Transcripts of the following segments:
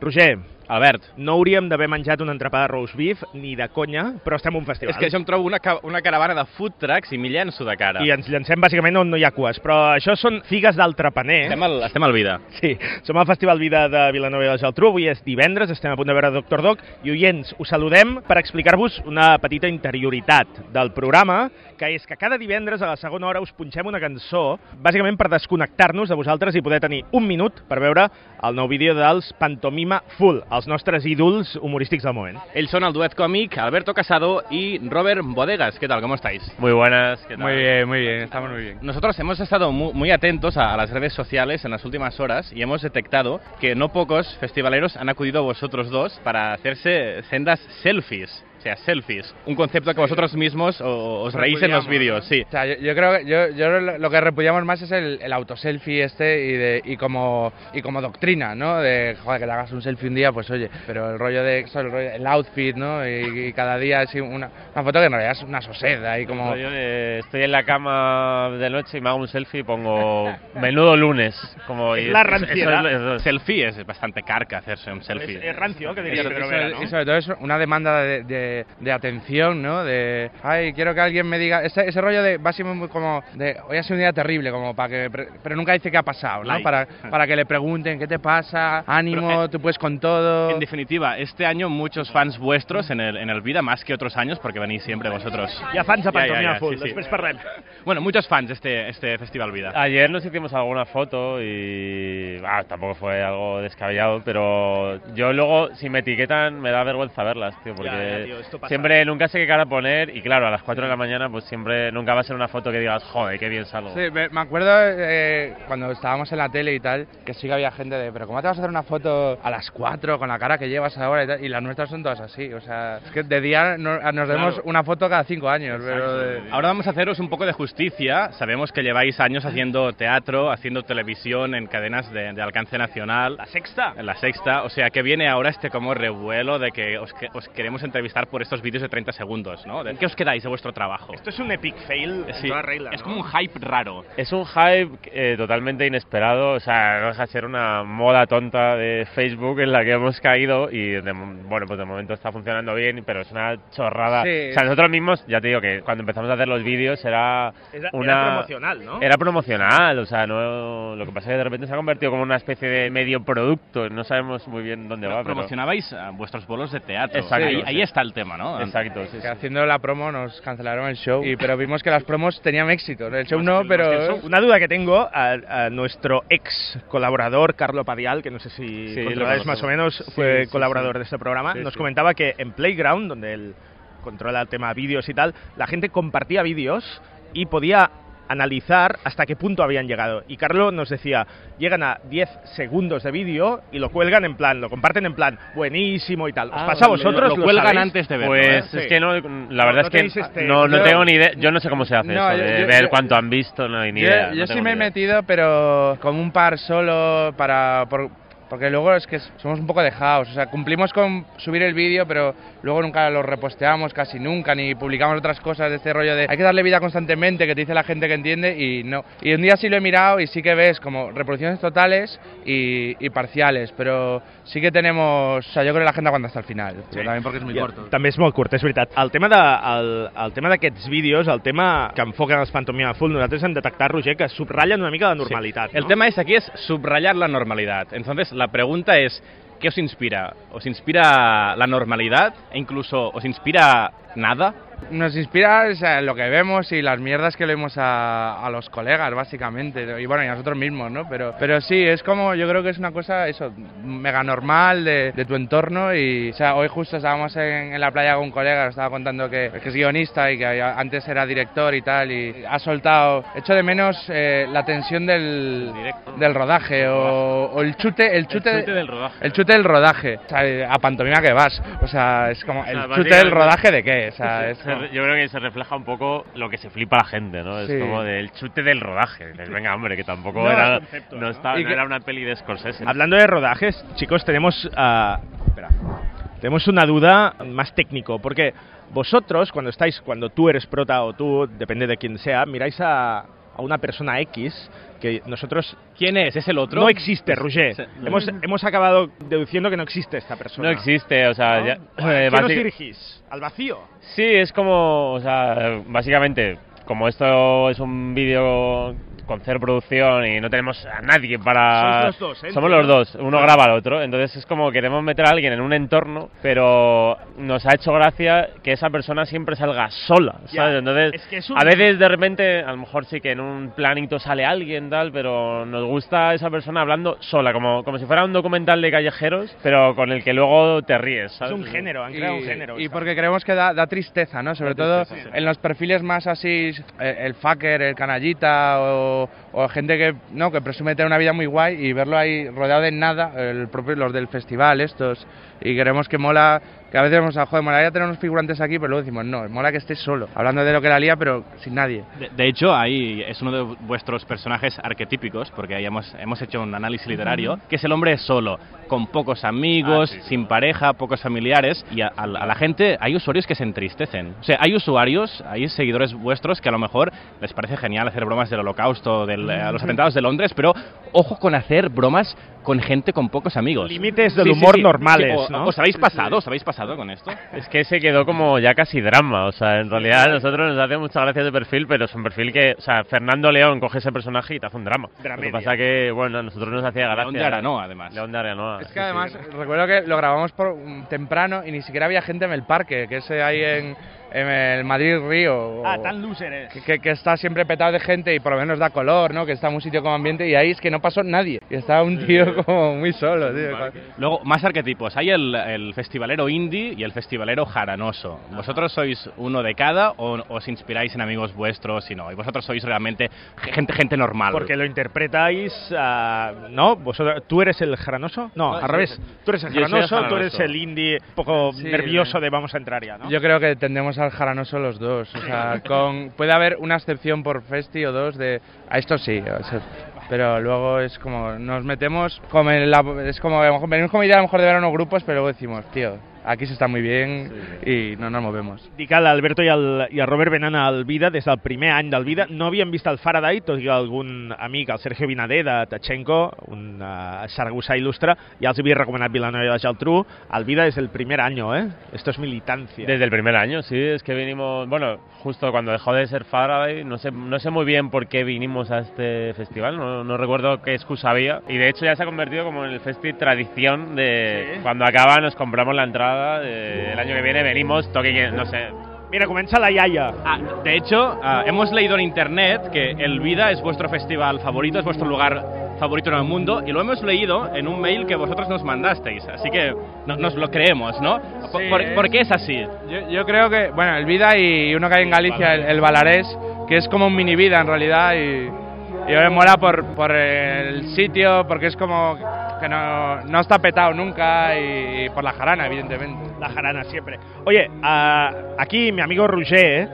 Roger, Albert. no hauríem d'haver menjat un entrepà de roast beef ni de conya, però estem a un festival. És que jo em trobo una, ca- una caravana de food trucks i m'hi llenço de cara. I ens llancem bàsicament on no hi ha cues, però això són figues d'altrapaner. Estem, al, estem al vida. Sí, som al Festival Vida de Vilanova i la Geltrú, avui és divendres, estem a punt de veure Doctor Doc i oients, us saludem per explicar-vos una petita interioritat del programa, que és que cada divendres a la segona hora us punxem una cançó, bàsicament per desconnectar-nos de vosaltres i poder tenir un minut per veure el nou vídeo dels Pantomima Full, els nostres ídols humorístics del moment. Ells són el duet còmic Alberto Casado y Robert Bodegas. ¿Qué tal? ¿Cómo estáis? Muy buenas, ¿qué tal? Muy bien, muy bien, estamos muy bien. Nosotros hemos estado mu- muy, atentos a, a las redes sociales en las últimas horas y hemos detectado que no pocos festivaleros han acudido a vosotros dos para hacerse sendas selfies. O sea, selfies. Un concepto que vosotros mismos o- os reís en los vídeos, sí. O sea, yo, yo creo que yo, yo lo lo que repudiamos más es el, el autoselfie este y, de, y, como, y como doctrina, ¿no? De, joder, que te hagas un selfie un día, pues oye, pero el rollo de eso, el, rollo- el outfit, ¿no? Y, y cada día así una, una foto que en realidad es una soseda y como... Yo, eh, estoy en la cama de noche y me hago un selfie y pongo menudo lunes. Como Es y- la eso es- ranciedad. eso es- Selfie es bastante carca hacerse un selfie. És, és rancio, que Y diria sobre, Pedro y Vera, sobre- no? y sobre todo es una demanda de, de- de atención, ¿no? De, ay, quiero que alguien me diga... Ese, ese rollo de, va a ser muy como, de, hoy ha sido un día terrible, como para que... pre- Pero nunca dice qué ha pasado, ¿no? Like. Para, para que le pregunten, ¿qué te pasa? Ánimo, Pero, eh, tú puedes con todo... En definitiva, este año muchos fans vuestros en el, en el Vida, más que otros años, porque venís siempre vosotros. Hi ha fans de Ja, ja, Pantomima ja, Full, sí, sí. després parlem. Bueno, muchos fans este, este Festival Vida. Ayer nos hicimos alguna foto y ah, tampoco fue algo descabellado, pero yo luego, si me etiquetan, me da vergüenza verlas, tío, porque Ya, ya, tío, esto pasa. siempre nunca sé qué cara poner y claro, a las 4 de la mañana, pues siempre nunca va a ser una foto que digas, joder, qué bien salgo. Sí, me me acuerdo eh, cuando estábamos en la tele y tal, que sí que había gente de, pero ¿cómo te vas a hacer una foto a las 4 con la cara que llevas ahora y tal? Y las nuestras son todas así, o sea, es que de día no- ah, nos demos una foto cada 5 años, pero... de- Ah, Ahora vamos a haceros un poco de justicia. Sabemos que lleváis años haciendo teatro, haciendo televisión en cadenas de, de alcance nacional. La sexta? En la sexta, o sea que viene ahora este como revuelo de que os, que- os queremos entrevistar por estos vídeos de 30 segundos, ¿no? ¿De qué os quedáis de vuestro trabajo? Esto es un epic fail en Sí, toda regla, es no? como un hype raro. Es un hype eh, totalmente inesperado, o sea, no deja de ser una moda tonta de Facebook en la que hemos caído y, de mo- bueno, pues de momento está funcionando bien, pero es una chorrada. Sí. O sea, nosotros mismos, ya te digo que cuando empezamos a hacer los vídeos era Era- era una... promocional, ¿no? Era promocional, o sea, no... lo que pasa es que de repente se ha convertido como una especie de medio producto, no sabemos muy bien dónde va, pero... Promocionabais ah, vuestros bolos de teatro. Exacto, ahí, sí. ahí está el tema, ¿no? Exacto, sí, sí. que haciendo la promo nos cancelaron el show, y, pero vimos que las promos tenían éxito, el show no, ¿eh? pero... Una duda que tengo a, a nuestro ex colaborador, Carlo Padial, que no sé si Sí, controláis lo conocemos. más o menos, Sí, fue sí, colaborador sí. de este programa, Sí, nos sí. comentaba que en Playground, donde él controla el tema vídeos y tal, la gente compartía vídeos y podía analizar hasta qué punto habían llegado. Y Carlo nos decía, llegan a 10 segundos de vídeo y lo cuelgan en plan, lo comparten en plan, buenísimo y tal. ¿Os Ah, pasa a vale, vosotros? lo cuelgan sabéis? antes de verlo, ¿eh? Pues Sí. es que no, la No, verdad no es que tenéis este- no, no yo- tengo ni idea, yo no sé cómo se hace No, eso, yo- de yo- ver yo- cuánto han visto, no hay ni idea. yo no yo sí tengo me ni he idea. metido, pero con un par solo para... por- porque luego es que somos un poco dejados, o sea, cumplimos con subir el vídeo, pero luego nunca lo reposteamos, casi nunca, ni publicamos otras cosas de este rollo de hay que darle vida constantemente, que te dice la gente que entiende, y no. Y un día sí lo he mirado y sí que ves como reproducciones totales y, y parciales, pero sí que tenemos, o sea, yo creo que la gente aguanta hasta el final, pero también porque es muy Ja, corto. També és molt curt, és veritat. El tema de- el- el tema d'aquests vídeos, el tema que enfoquen els Pantomima Full, nosaltres hem detectat, Roger, que subratllen una mica la normalitat. El no? tema es aquí es subrayar la normalidad. Entonces la pregunta es ¿qué os inspira? ¿Os inspira la normalidad e incluso os inspira nada? Nos inspira o sea, lo que vemos y las mierdas que leemos a, a los colegas, básicamente, y bueno, y a nosotros mismos, ¿no? Pero, pero sí, es como, yo creo que es una cosa, eso, mega normal de, de tu entorno y, o sea, hoy justo estábamos en, en la playa con un colega, nos estaba contando que, que es guionista y que antes era director y tal, y ha soltado, echo de menos eh, la tensión del, directo. del rodaje o, o el chute, el chute, chute del rodaje. El chute del rodaje, o sea, a pantomima que vas, o sea, es como, sea, el chute del básicamente- rodaje de qué, o sea, es Se- como- Yo creo que se refleja un poco lo que se flipa la gente, ¿no? Sí. Es como del chute del rodaje. Dices, Venga, hombre, que tampoco No, era, el concepto, no, ¿no? estaba- Y no que- era una peli de Scorsese. Hablando de rodajes, chicos, tenemos... ah, espera. Tenemos una duda más técnico, porque vosotros, cuando estáis, cuando tú eres prota o tú, depende de quién sea, miráis a, a a una persona X que nosotros ¿Quién es? ¿Es Mm. el otro? no existe, Roger. Sí, no. Hemos, hemos acabado deduciendo que no existe esta persona. No existe, o sea, ¿no? ya- ¿A qué eh, nos basic- dirigís? ¿Al vacío? Sí, es como, o sea, básicamente, como esto es un vídeo con cero producción y no tenemos a nadie para... Sois los dos, ¿eh? Somos Entiendo. los dos, uno graba al otro, entonces es como queremos meter a alguien en un entorno, pero nos ha hecho gracia que esa persona siempre salga sola, Ya, ¿sabes? Entonces, es que es un- a veces de repente, a lo mejor sí que en un planito sale alguien tal, pero nos gusta esa persona hablando sola, como, como si fuera un documental de callejeros, pero con el que luego te ríes, Es ¿sabes? un género, han creado un género. y esta porque creemos que da, da tristeza, ¿no? Sobre todo tristeza, sí. en los perfiles más así, eh, el fucker, el canallita o, o gente que no que presume tener una vida muy guay y verlo ahí rodeado de nada, el propio, los del festival estos, y queremos que mola, que a veces vamos a, joder, molaría tener unos figurantes aquí, pero luego decimos, no, mola que estés solo, hablando de lo que la lía, pero sin nadie. De, de hecho, ahí es uno de vuestros personajes arquetípicos, porque ahí hemos, hemos hecho un análisis literario, que es el hombre solo, con pocos amigos, Ah, sí, sí. sin pareja, pocos familiares, y a, a la a la gente hay usuarios que se entristecen. O sea, hay usuarios, hay seguidores vuestros que a lo mejor les parece genial hacer bromas del holocausto, de los atentados de Londres, pero ojo con hacer bromas con gente con pocos amigos. Límites del humor normales, o- ¿no? ¿Os habéis pasado? ¿Os habéis pasado con esto? Es que se quedó como ya casi drama, o sea, en realidad a nosotros nos hace mucha gracia ese perfil, pero es un perfil que, o sea, Fernando León coge ese personaje y te hace un drama. Lo que Dramedia. pasa que, bueno, a nosotros nos hacía gracia. León de Aranoa, además. León de Aranoa. Es sí, que sí. además, recuerdo que lo grabamos por, mm, temprano y ni siquiera había gente en el parque, que es eh, ahí en, en el Madrid Río. o- Ah, tan loser es. que, que- que está siempre petado de gente y por lo menos da color, ¿no? Que está en un sitio como ambiente y ahí es que no pasó nadie. Y estaba un tío como muy solo, tío. Luego, más arquetipos. Hay el, el festivalero indie y el festivalero jaranoso. ¿Vosotros sois uno de cada o os inspiráis en amigos vuestros y no? Y vosotros sois realmente gente, gente normal. Porque lo interpretáis, ah, ¿no? Vosotros, ¿Tú eres el jaranoso? No, No, al yo- revés. Tú eres el yo soy el jaranoso, tú jaranoso. eres el indie un poco Sí, nervioso el- de vamos a entrar ya, ¿no? Yo creo que tendemos al jaranoso los dos. O sea, con, puede haber una excepción por Festi o dos de... A esto sí, o sea, pero luego es como... Nos metemos como en la... Es como... a lo mejor- Venimos como idea a lo mejor de ver a unos grupos, pero luego decimos, tío, aquí se está muy bien y no nos movemos. Dic a l'Alberto i, el, i el Robert venen al Vida des del primer any del Vida. No havien vist el Faraday, tot i que algun amic, el Sergio Vinader de Tachenko, un uh, saragossà il·lustre, ja els havia recomanat Vilanova i la Geltrú. El Vida és el primer any, eh? Esto es militancia. Desde el primer año, sí, es que vinimos, bueno, justo cuando dejó de ser Faraday, no sé, no sé muy bien por qué vinimos a este festival, no, no recuerdo qué excusa había, y de hecho ya se ha convertido como en el festi tradición de Sí. cuando acaba nos compramos la entrada, eh, de- el año que viene venimos, toque, no sé, Mira, comença la iaia. Ah, de hecho, ah, hemos leído en internet que el Vida es vuestro festival favorito, es vuestro lugar favorito en el mundo y lo hemos leído en un mail que vosotros nos mandasteis. Así que no- nos lo creemos, ¿no? ¿Por, Sí, por- ¿eh? por qué es así? Yo, yo creo que, bueno, el Vida y uno que hay en Galicia, el, el Balarés, que es como un mini Vida en realidad y, y me mola por, por el sitio, porque es como que no, no está petado nunca y, y por la jarana, evidentemente. La jarana siempre. Oye, ah, aquí mi amigo Roger,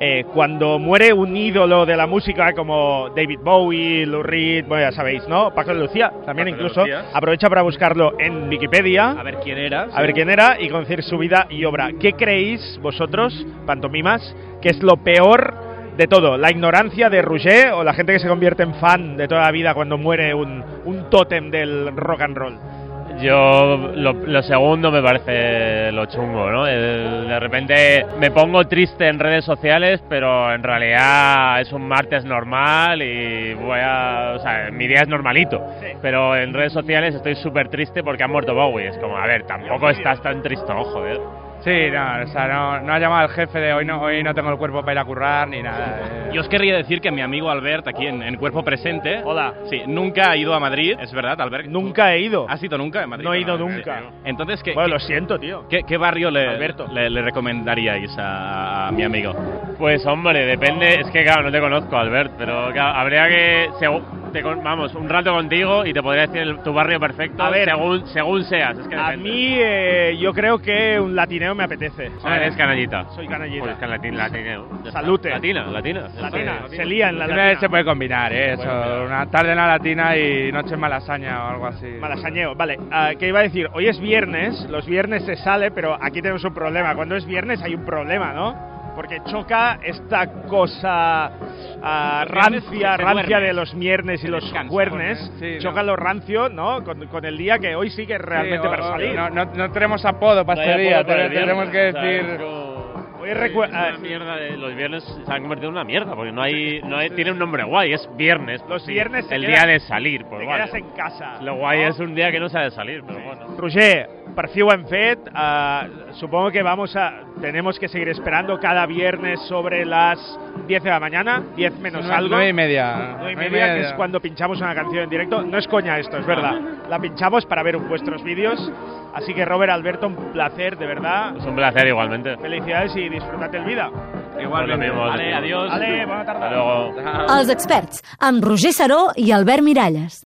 eh, cuando muere un ídolo de la música como David Bowie, Lou Reed, bueno, ya sabéis, ¿no? Paco de Lucía, también Paco de incluso, Lucía. aprovecha para buscarlo en A Wikipedia, ver quién era. a ver quién era y conocer su vida y obra. ¿Qué creéis vosotros, pantomimas, que es lo peor de todo? ¿La ignorancia de Roger o la gente que se convierte en fan de toda la vida cuando muere un, un tótem del rock and roll? Yo lo, lo segundo me parece lo chungo, ¿no? El- de repente me pongo triste en redes sociales, pero en realidad es un martes normal y voy a... O sea, mi día es normalito. Pero en redes sociales estoy súper triste porque ha muerto Bowie. Es como, a ver, tampoco estás tan triste, joder. Sí, no, o sea, no, no ha llamado al jefe de hoy no, hoy no tengo el cuerpo para ir a currar ni nada. eh. Yo os querría decir que mi amigo Albert, aquí en, en Cuerpo Presente, Hola. sí, nunca ha ido a Madrid, es verdad, Albert. Nunca he ido. ¿Has ido nunca a Madrid? No he ido Sí. nunca. Entonces, ¿qué, Bueno, lo siento, tío. qué, qué barrio le, Alberto. le, le recomendaríais a, a mi amigo? Pues hombre, depende. Es que claro, no te conozco, Albert, pero claro, habría que segu- te con- vamos un rato contigo y te podría decir el- tu barrio perfecto. A ver. según según seas. Es que A depende. mí eh, yo creo que un latineo me apetece. Ah, eres canallita. Soy canallita. Pues can latín, latino. Salute. Latina, latina. Latina, Sí. se lía en la Siempre se latina. puede combinar, ¿eh? Eso, una tarde en la latina y noche en Malasaña o algo así. Malasañeo, vale. ah, ¿Qué iba a decir? Hoy es viernes, los viernes se sale, pero aquí tenemos un problema. Cuando es viernes hay un problema, ¿no? porque choca esta cosa ah, rancia, se rancia duerme. de los miernes y Se los descansa. cuernes, Sí, choca no. lo rancio, ¿no? Con, con el día que hoy sí que es realmente Sí, o- para o- salir. No, no, no tenemos apodo para este día, te- tenemos que decir... Hoy recue- ah, los viernes se han convertido en una mierda, porque no hay, no hay- tiene un nombre guay, es viernes. pues Los sí, viernes te El quedas- día de salir, pues te vale. quedas en casa. Lo guay ¿no? es un día que no se ha de salir, pero bueno. Roger, per fi ho hem fet. eh, supongo que vamos a, tenemos que seguir esperando cada viernes sobre las 10 de la mañana, 10 menos Nue- algo. Nueve y media. Nueve y media, que es cuando pinchamos una canción en directo. No es coña esto, es verdad. La pinchamos para ver vuestros vídeos. Así que, Robert, Alberto, un placer, de verdad. Es un placer igualmente. Felicidades y disfrutad el vida. Igualmente. Lo mismo, Vale, sí. adiós. Vale, bona tarda. Hasta luego. Els experts, amb Roger Saró i Albert Miralles.